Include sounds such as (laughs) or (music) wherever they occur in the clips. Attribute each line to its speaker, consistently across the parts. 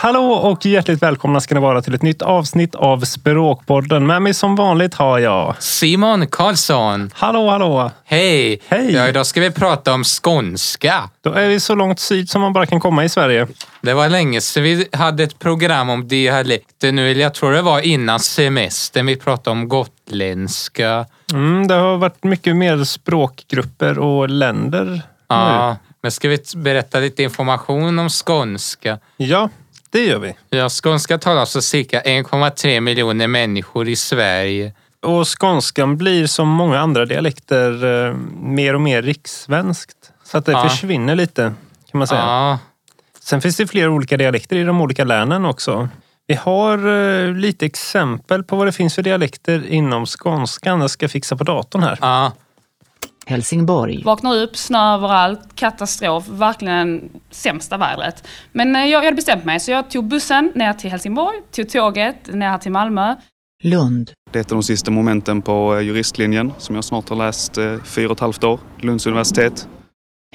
Speaker 1: Hallå och hjärtligt välkomna ska ni vara till ett nytt avsnitt av Språkpodden. Med mig som vanligt har jag...
Speaker 2: Simon Karlsson.
Speaker 1: Hallå, hallå!
Speaker 2: Hej!
Speaker 1: Hej.
Speaker 2: Ja, idag ska vi prata om skånska.
Speaker 1: Då är vi så långt syd som man bara kan komma i Sverige.
Speaker 2: Det var länge sedan vi hade ett program om dialekter nu. eller Jag tror det var innan semestern vi pratade om gotländska.
Speaker 1: Mm, det har varit mycket mer språkgrupper och länder Mm.
Speaker 2: Ja, men ska vi t- berätta lite information om skånska?
Speaker 1: nu. Ja, det gör vi.
Speaker 2: Ja, skånska talas av cirka 1,3 miljoner människor i Sverige.
Speaker 1: Och skånskan blir som många andra dialekter eh, mer och mer rikssvenskt. Så att det
Speaker 2: Ja.
Speaker 1: försvinner lite, kan man säga.
Speaker 2: Ja,
Speaker 1: Sen finns det flera olika dialekter i de olika länen också. Vi har eh, lite exempel på vad det finns för dialekter inom skånskan. Jag ska fixa på datorn här.
Speaker 2: ja.
Speaker 3: Helsingborg,
Speaker 4: Vaknar upp, snö överallt, katastrof, verkligen sämsta vädret. Men eh, jag, jag hade bestämt mig så jag tog bussen ner till Helsingborg, tog tåget ner till Malmö.
Speaker 3: Lund,
Speaker 5: Det är ett av de sista momenten på eh, juristlinjen som jag snart har läst eh, fyra och ett halvt år, Lunds universitet.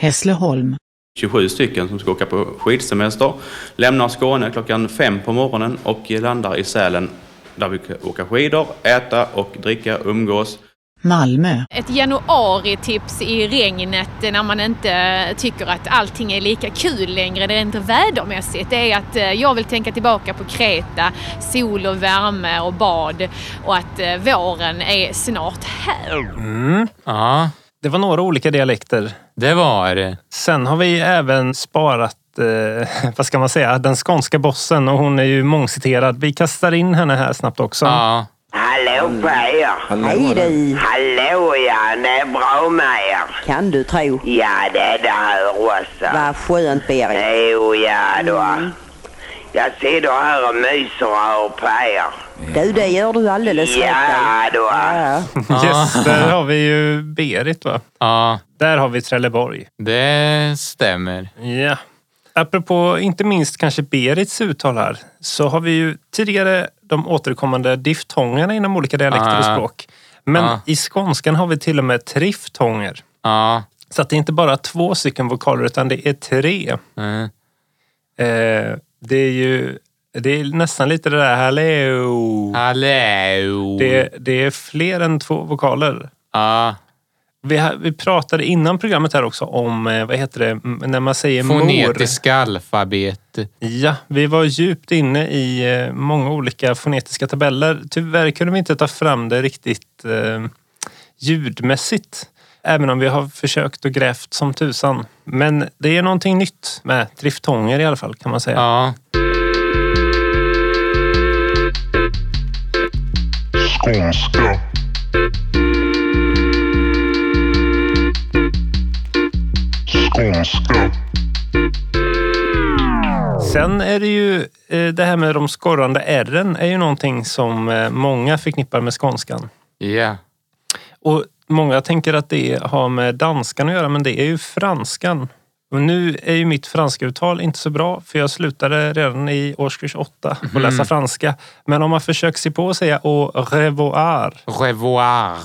Speaker 3: Hässleholm,
Speaker 6: 27 stycken som ska åka på skidsemester. Lämnar Skåne klockan fem på morgonen och landar i Sälen där vi kan åka skidor, äta och dricka, umgås.
Speaker 3: Malmö,
Speaker 7: Ett januari-tips i regnet när man inte tycker att allting är lika kul längre, det är inte vädermässigt, det är att eh, jag vill tänka tillbaka på Kreta, sol och värme och bad och att eh, våren är snart här.
Speaker 2: ja
Speaker 1: Det var några olika dialekter.
Speaker 2: det var det.
Speaker 1: Sen har vi även sparat Eh, (laughs) vad ska man säga? Den skånska bossen och hon är ju mångciterad. Vi kastar in henne här snabbt också.
Speaker 2: Ja.
Speaker 8: Hallå på er!
Speaker 9: Hej du!
Speaker 8: Hallå ja, det är bra med er.
Speaker 9: Kan du tro?
Speaker 8: Ja, det är det här Rosa.
Speaker 9: Vad skönt Berit.
Speaker 8: Jo, ja då. Jag sitter här och myser och hör på er.
Speaker 9: Du, det gör du alldeles rätt
Speaker 8: Ja då.
Speaker 9: i.
Speaker 1: (laughs) Yes, där har vi ju Berit va?
Speaker 2: ja,
Speaker 1: Där har vi Trelleborg.
Speaker 2: det stämmer.
Speaker 1: Ja. Apropå inte minst kanske Berits uttal här, så har vi ju tidigare de återkommande diftongerna inom olika dialekter och
Speaker 2: Ah.
Speaker 1: språk. Men
Speaker 2: Ah.
Speaker 1: i skånskan har vi till och med triftonger.
Speaker 2: Ja.
Speaker 1: Så att det är inte bara två stycken vokaler utan det är tre.
Speaker 2: Mm.
Speaker 1: Eh, det är ju det är nästan lite det där hallå.
Speaker 2: Hallå!
Speaker 1: Det, det är fler än två vokaler.
Speaker 2: Ja.
Speaker 1: Vi, ha- vi pratade innan programmet här också om, eh, vad heter det, m- när man säger mor.
Speaker 2: Fonetiska alfabet.
Speaker 1: Ja, vi var djupt inne i eh, många olika fonetiska tabeller. Tyvärr kunde vi inte ta fram det riktigt eh, ljudmässigt. Även om vi har försökt och grävt som tusan. Men det är någonting nytt med driftonger i alla fall kan man säga.
Speaker 2: Ja.
Speaker 10: Skånska. Skånska.
Speaker 1: Sen är det ju eh, det här med de skorrande ärren är ju någonting som eh, många förknippar med skånskan.
Speaker 2: Ja.
Speaker 1: Och många tänker att det har med danskan att göra, men det är ju franskan. Och nu är ju mitt franska uttal inte så bra, för jag slutade redan i årskurs åtta att läsa franska. Men om man försöker sig på att säga au revoir
Speaker 2: Revoir.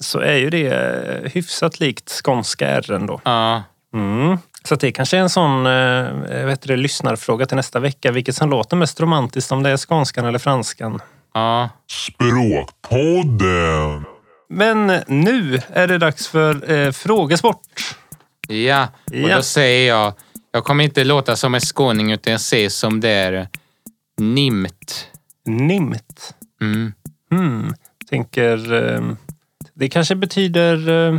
Speaker 1: så är ju det eh, hyfsat likt skånska r ändå.
Speaker 2: Ja.
Speaker 1: Mm. Så att det kanske är en sån eh, vad heter det, lyssnarfråga till nästa vecka. Vilket som låter mest romantiskt, om det är skånskan eller franskan.
Speaker 2: Ja.
Speaker 10: Språkpodden.
Speaker 1: Men nu är det dags för eh, frågesport.
Speaker 2: Ja. Och
Speaker 1: Ja.
Speaker 2: då säger jag, jag kommer inte låta som en skåning utan jag säger som det är. Nimt.
Speaker 1: Nimt.
Speaker 2: Mm.
Speaker 1: Hmm. Tänker... Eh, det kanske betyder eh,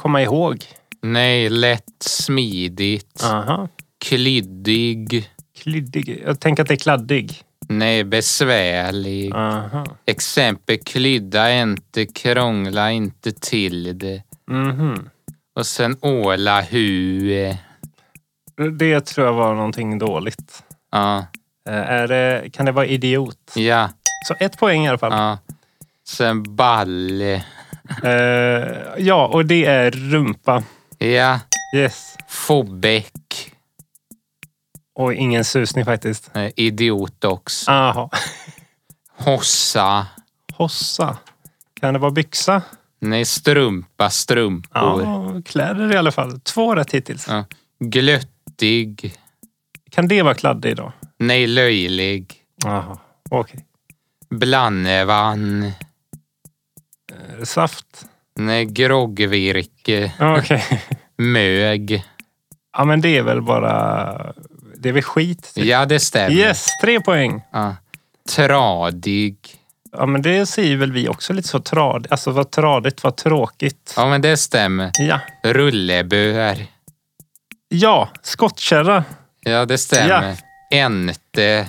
Speaker 1: komma ihåg.
Speaker 2: Nej, lätt, smidigt,
Speaker 1: Aha.
Speaker 2: klyddig,
Speaker 1: Klyddig. Jag tänker att det är kladdig.
Speaker 2: nej, besvärlig.
Speaker 1: Aha.
Speaker 2: Exempel, klydda inte, krångla inte till det.
Speaker 1: Mhm.
Speaker 2: Och sen åla hu.
Speaker 1: Det tror jag var någonting dåligt.
Speaker 2: Ja.
Speaker 1: Eh, är det, kan det vara idiot?
Speaker 2: Ja.
Speaker 1: Så ett poäng i alla fall.
Speaker 2: Ja. Sen balle.
Speaker 1: Eh, ja, och det är rumpa.
Speaker 2: Ja.
Speaker 1: Yes.
Speaker 2: Fobäck.
Speaker 1: Och ingen susning faktiskt.
Speaker 2: Eh, Idiot också.
Speaker 1: Aha.
Speaker 2: Hossa.
Speaker 1: Hossa. Kan det vara byxa?
Speaker 2: Nej, strumpa, strumpor.
Speaker 1: Ja, kläder i alla fall. Två rätt hittills.
Speaker 2: Ja. Glöttig.
Speaker 1: Kan det vara kladdig då?
Speaker 2: Nej, löjlig.
Speaker 1: Jaha, okej.
Speaker 2: Blannevann.
Speaker 1: Eh, Saft.
Speaker 2: Nej, groggvirke.
Speaker 1: Ja, Okej.
Speaker 2: Mög.
Speaker 1: (laughs) Ja, men det är väl bara... Det är väl skit? typ.
Speaker 2: Ja, det stämmer.
Speaker 1: Yes, tre poäng.
Speaker 2: Ja. Tradig.
Speaker 1: Ja, men det säger väl vi också lite så tradigt. Alltså vad tradigt, vad tråkigt.
Speaker 2: Ja, men det stämmer.
Speaker 1: Ja.
Speaker 2: Rullebör.
Speaker 1: Ja, skottkärra.
Speaker 2: Ja, det stämmer. Ente.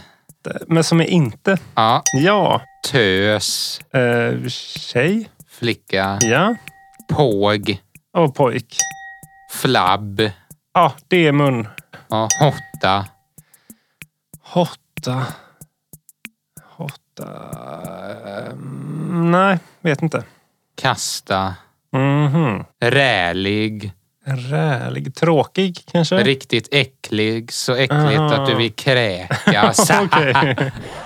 Speaker 1: Men som är inte.
Speaker 2: Ja.
Speaker 1: Ja.
Speaker 2: Tös.
Speaker 1: Eh, tjej.
Speaker 2: Flicka.
Speaker 1: Ja.
Speaker 2: Påg.
Speaker 1: Och pojk.
Speaker 2: Flabb.
Speaker 1: Ja, det är mun.
Speaker 2: Ja, hotta.
Speaker 1: Hotta. Hotta. Mm, nej, vet inte.
Speaker 2: Kasta.
Speaker 1: Mhm.
Speaker 2: Rälig.
Speaker 1: Rälig. Tråkig kanske?
Speaker 2: Riktigt äcklig. Så äckligt
Speaker 1: Eh. Aha.
Speaker 2: att du vill
Speaker 1: (laughs)
Speaker 2: kräkas. (laughs)
Speaker 1: Okej.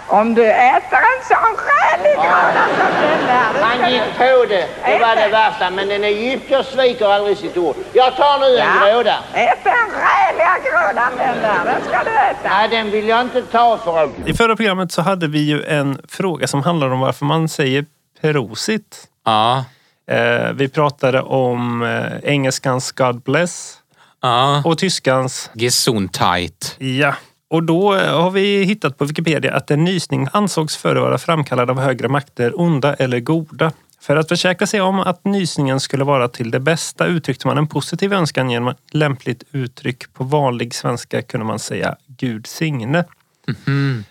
Speaker 11: Om du äter en sån skälig gröna som den där, då ska
Speaker 12: Han
Speaker 11: du...
Speaker 12: gick på det. Det var det värsta. Men den egyptier sviker aldrig sitt ord. Jag tar nu en gråda.
Speaker 11: Ät den skäliga grönan den där, den ska du äta.
Speaker 12: Nej, den vill jag inte ta för att...
Speaker 1: I förra programmet så hade vi ju en fråga som handlar om varför man säger prosit.
Speaker 2: Ja.
Speaker 1: Eh, vi pratade om eh, engelskans God bless
Speaker 2: Ja.
Speaker 1: och tyskans
Speaker 2: Gesundheit.
Speaker 1: ja. Och då eh, har vi hittat på Wikipedia att en nysning ansågs före vara framkallad av högre makter, onda eller goda. För att försäkra sig om att nysningen skulle vara till det bästa uttryckte man en positiv önskan genom ett lämpligt uttryck. På vanlig svenska kunde man säga Gud signe.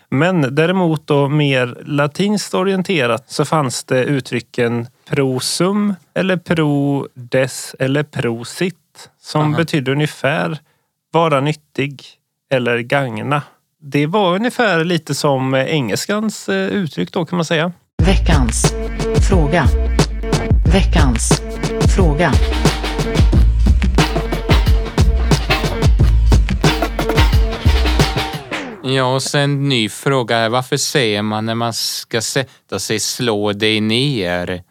Speaker 1: Men däremot då mer latinskt orienterat så fanns det uttrycken prosum eller pro des eller prosit som betydde ungefär vara nyttig eller gagna. Det var ungefär lite som eh, engelskans eh, uttryck då kan man säga.
Speaker 3: Veckans fråga. Veckans fråga.
Speaker 2: Ja, och sen ny fråga här. Varför säger man när man ska sätta sig slå dig ner? Det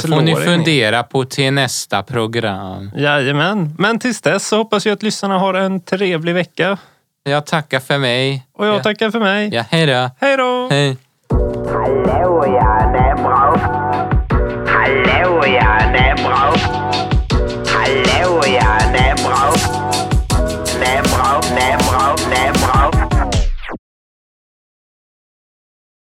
Speaker 1: Slår
Speaker 2: får ni
Speaker 1: in i.
Speaker 2: fundera på till nästa program.
Speaker 1: Jajamän, men tills dess så hoppas jag att lyssnarna har en trevlig vecka.
Speaker 2: Jag tackar för mig.
Speaker 1: Och jag
Speaker 2: Ja.
Speaker 1: tackar för mig.
Speaker 2: Ja, hej då.
Speaker 1: Hej då!
Speaker 2: Hej.
Speaker 9: Hallå